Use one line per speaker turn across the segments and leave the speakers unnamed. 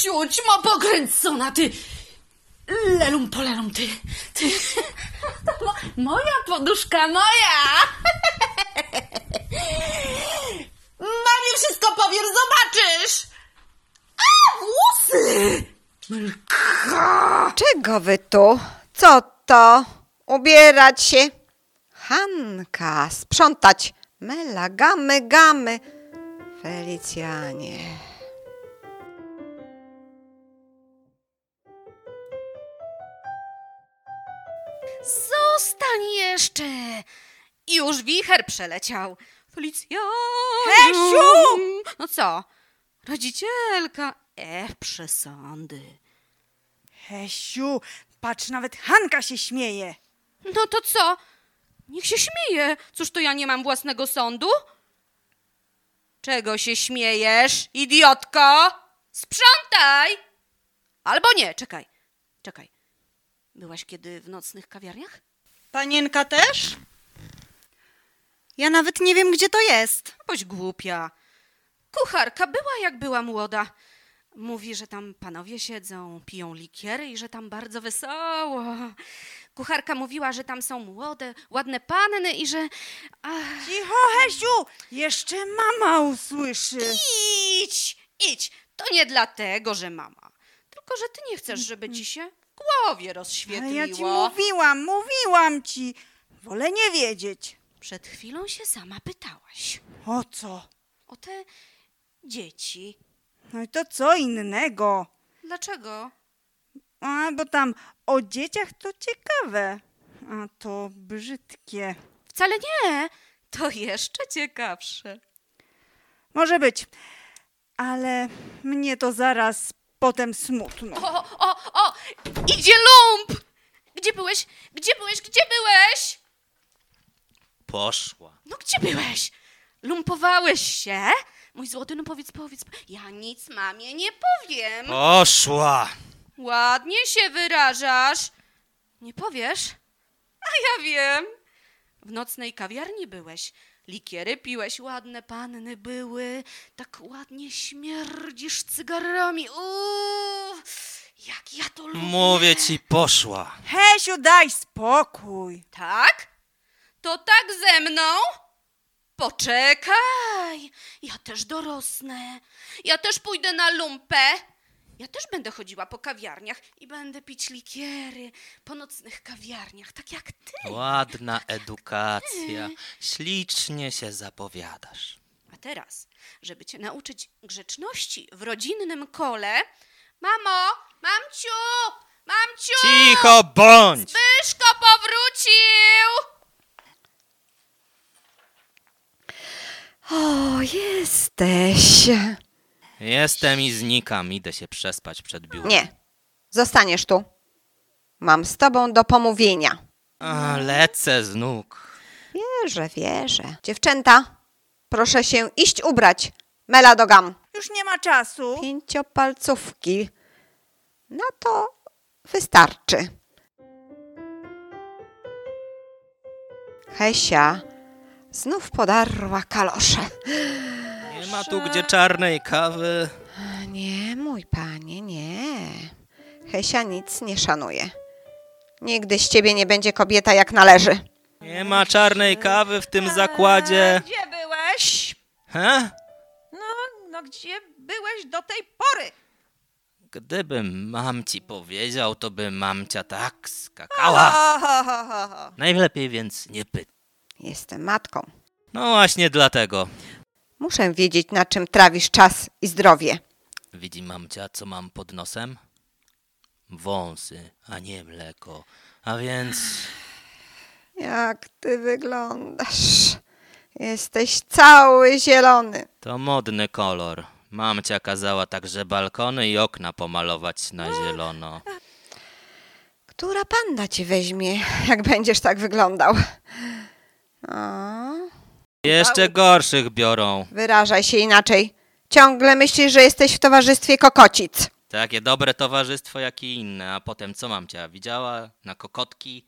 Ciuć ma pokręcona, ty! Lelum polerum, ty! ty. To mo- moja poduszka, moja! Mamie wszystko powiem, zobaczysz! A, włosy!
Czego wy tu? Co to? Ubierać się? Hanka, sprzątać. Mela, gamy, gamy. Felicjanie.
Zostań jeszcze! Już wicher przeleciał. Felicjaniu!
Hesiu!
No co? Rodzicielka. Ech, przesądy.
Hesiu, patrz, nawet Hanka się śmieje.
No to co? Niech się śmieje. Cóż to ja nie mam własnego sądu? Czego się śmiejesz, idiotko? Sprzątaj! Albo nie, czekaj. Czekaj. Byłaś kiedy w nocnych kawiarniach?
Panienka też? Ja nawet nie wiem, gdzie to jest.
No Boś głupia. Kucharka była jak była młoda. Mówi, że tam panowie siedzą, piją likiery i że tam bardzo wesoło. Kucharka mówiła, że tam są młode, ładne panny i że. Ach,
Cicho, Hesiu! Jeszcze mama usłyszy.
idź, idź. To nie dlatego, że mama. Tylko, że ty nie chcesz, żeby ci się w głowie
A
rozświetliło.
ja ci mówiłam, mówiłam ci. Wolę nie wiedzieć.
Przed chwilą się sama pytałaś
O co?
o te dzieci.
No i to co innego.
Dlaczego?
A, bo tam o dzieciach to ciekawe. A to brzydkie.
Wcale nie. To jeszcze ciekawsze.
Może być. Ale mnie to zaraz potem smutno.
O, o, o! Idzie lump! Gdzie byłeś? Gdzie byłeś? Gdzie byłeś?
Poszła.
No gdzie byłeś? Lumpowałeś się? Mój złoty, no powiedz, powiedz. Ja nic mamie nie powiem.
Poszła!
Ładnie się wyrażasz. Nie powiesz? A ja wiem. W nocnej kawiarni byłeś. Likiery piłeś, ładne panny były. Tak ładnie śmierdzisz cygarami. Uuu, jak ja to lubię.
Mówię ci, poszła.
Hesiu, daj spokój.
Tak? To tak ze mną? Poczekaj, ja też dorosnę. Ja też pójdę na lumpę. Ja też będę chodziła po kawiarniach i będę pić likiery po nocnych kawiarniach, tak jak ty.
Ładna edukacja. Ślicznie się zapowiadasz.
A teraz, żeby cię nauczyć grzeczności w rodzinnym kole, mamo, mamciu, mamciu,
Cicho bądź!
Byszko powrócił!
O, jesteś.
Jestem i znikam. Idę się przespać przed biurem.
Nie, zostaniesz tu. Mam z tobą do pomówienia.
A, lecę z nóg.
Wierzę, wierzę. Dziewczęta, proszę się iść ubrać. Mela do gam.
Już nie ma czasu.
Pięciopalcówki. No to wystarczy. Hesia znów podarła kalosze.
Nie ma tu gdzie czarnej kawy.
Nie, mój panie, nie. Hesia nic nie szanuje. Nigdy z ciebie nie będzie kobieta jak należy.
Nie ma czarnej kawy w tym zakładzie.
Gdzie byłeś?
He?
No, no gdzie byłeś do tej pory?
Gdybym mam ci powiedział, to by mamcia tak skakała. Najlepiej więc nie pyta.
Jestem matką.
No właśnie dlatego.
Muszę wiedzieć, na czym trawisz czas i zdrowie.
Widzi mamcia, co mam pod nosem? Wąsy, a nie mleko. A więc
Jak ty wyglądasz? Jesteś cały zielony.
to modny kolor. Mamcia kazała także balkony i okna pomalować na zielono.
Która panda cię weźmie, jak będziesz tak wyglądał? O,
Jeszcze gorszych biorą.
wyrażaj się inaczej. Ciągle myślisz, że jesteś w towarzystwie kokocic.
Takie dobre towarzystwo jak i inne. A potem co mamcia widziała? Na kokotki?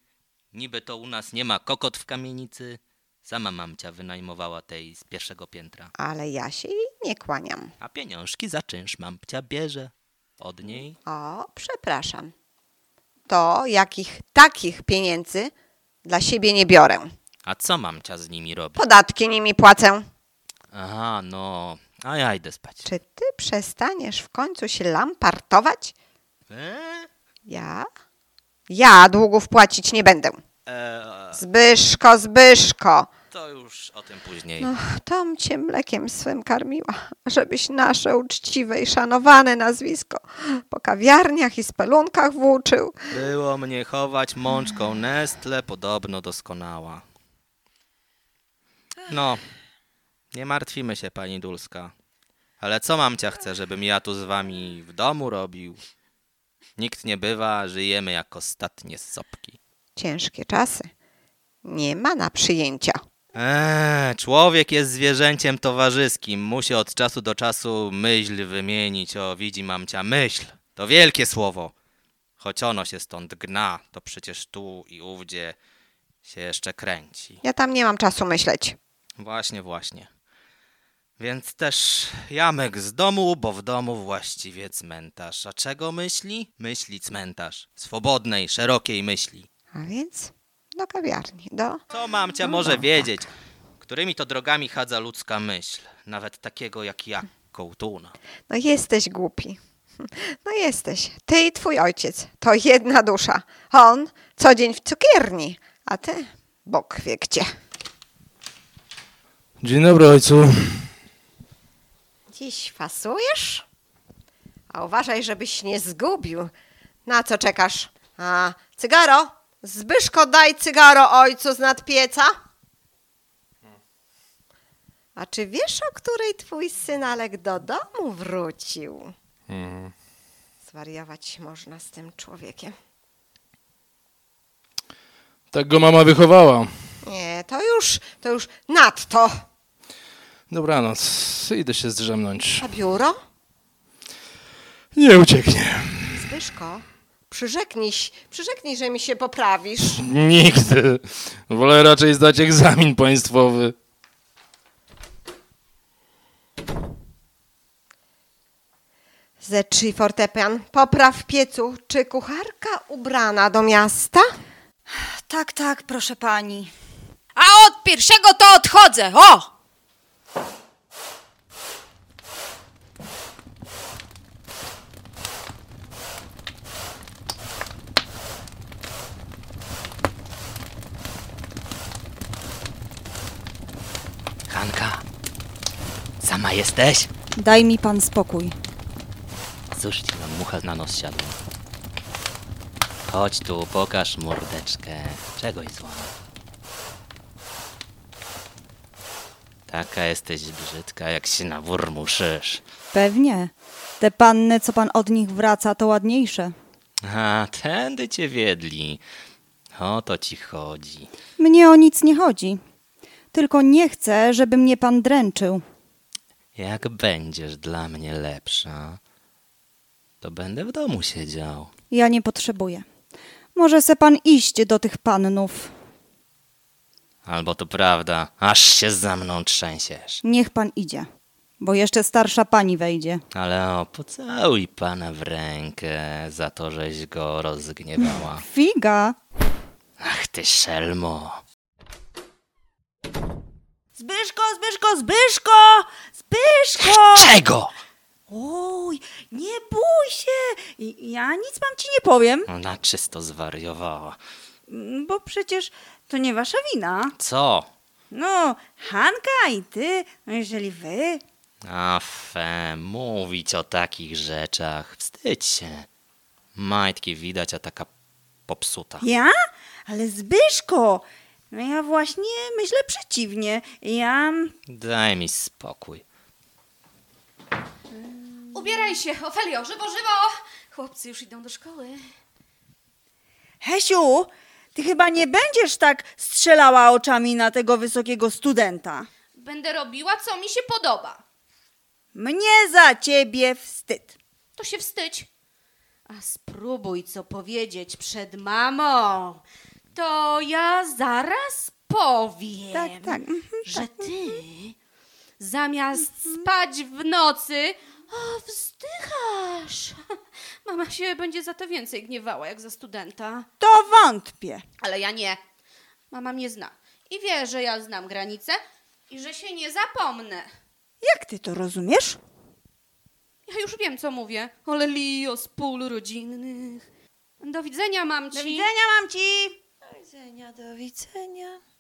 Niby to u nas nie ma kokot w kamienicy. Sama mamcia wynajmowała tej z pierwszego piętra.
Ale ja się jej nie kłaniam.
A pieniążki za czynsz mamcia bierze. od niej.
O, przepraszam. To jakich takich pieniędzy dla siebie nie biorę.
A co mamcia z nimi robi?
Podatki nimi płacę.
Aha, no. A ja idę spać.
Czy ty przestaniesz w końcu się lampartować?
E?
Ja? Ja długów płacić nie będę.
E,
Zbyszko, Zbyszko.
to już o tym później.
No, tom cię mlekiem swym karmiła, żebyś nasze uczciwe i szanowane nazwisko po kawiarniach i spelunkach włóczył.
Było mnie chować mączką Nestle, podobno doskonała. No, nie martwimy się, pani Dulska. Ale co mamcia chce, żebym ja tu z wami w domu robił? Nikt nie bywa, żyjemy jak ostatnie sopki.
Ciężkie czasy. Nie ma na przyjęcia.
Eee, człowiek jest zwierzęciem towarzyskim. Musi od czasu do czasu myśl wymienić. O, widzi mamcia, myśl. To wielkie słowo. Choć ono się stąd gna, to przecież tu i ówdzie się jeszcze kręci.
Ja tam nie mam czasu myśleć.
Właśnie, właśnie. Więc też jamek z domu, bo w domu właściwie cmentarz. A czego myśli? Myśli cmentarz. Swobodnej, szerokiej myśli.
A więc do kawiarni, do...
Co mamcia może wiedzieć? Którymi to drogami chadza ludzka myśl, nawet takiego jak ja, kołtuna.
No jesteś głupi. No jesteś. Ty i twój ojciec. To jedna dusza. On co dzień w cukierni, a ty Bóg wie gdzie.
Dzień dobry ojcu.
Dziś fasujesz? A uważaj, żebyś nie zgubił. Na co czekasz? A, cygaro! Zbyszko, daj cygaro ojcu z nad pieca. A czy wiesz, o której twój synalek do domu wrócił? Zwariować można z tym człowiekiem.
Tak go mama wychowała.
Nie, to już, to już nadto.
Dobranoc, idę się zdrzemnąć.
A biuro?
Nie ucieknie.
Zbyszko, przyrzeknij, przyrzeknij, że mi się poprawisz.
Nigdy. Wolę raczej zdać egzamin państwowy.
Ze trzy fortepian, popraw w piecu, czy kucharka ubrana do miasta?
Tak, tak, proszę pani.
A od pierwszego to odchodzę, o!
Hanka, sama jesteś?
Daj mi pan spokój.
Cóż ci nam mucha na nos siadła. Chodź tu, pokaż mordeczkę. Czegoś zła. Taka jesteś brzydka, jak się na wór muszysz.
Pewnie. Te panny, co pan od nich wraca, to ładniejsze.
A, tędy cię wiedli. O to ci chodzi.
Mnie o nic nie chodzi. Tylko nie chcę, żeby mnie pan dręczył.
Jak będziesz dla mnie lepsza, to będę w domu siedział.
Ja nie potrzebuję. Może se pan iść do tych pannów.
Albo to prawda, aż się za mną trzęsiesz.
Niech pan idzie, bo jeszcze starsza pani wejdzie.
Ale o, pocałuj pana w rękę za to, żeś go rozgniewała.
Figa!
Ach ty szelmo.
Zbyszko, Zbyszko, Zbyszko! Zbyszko!
Czego?
Oj, nie bój się! I- Ja nic mam ci nie powiem,
Ona No, czysto zwariowała.
Mm, Bo przecież to nie wasza wina.
Co?
No, Hanka i ty, no jeżeli wy.
A fe, mówić o takich rzeczach. Wstydź się. Majtki widać, a taka popsuta.
Ja? Ale Zbyszko! No ja właśnie myślę przeciwnie. Ja...
Daj mi spokój.
Ubieraj się, Ofelio, żywo, żywo! Chłopcy już idą do szkoły.
Hesiu, ty chyba nie będziesz tak strzelała oczami na tego wysokiego studenta.
Będę robiła, co mi się podoba.
Mnie za ciebie wstyd.
To się wstydź. A spróbuj co powiedzieć przed mamą. To ja zaraz powiem.
Tak, tak. mhm.
że ty zamiast spać w nocy, O, wzdychasz. Mama się będzie za to więcej gniewała, jak za studenta.
To wątpię.
Ale ja nie. Mama mnie zna. I wie, że ja znam granice i że się nie zapomnę.
Jak ty to rozumiesz?
Ja już wiem, co mówię. Ole lio z pól rodzinnych. Do widzenia, mam ci.
mam ci!
Do widzenia, do widzenia.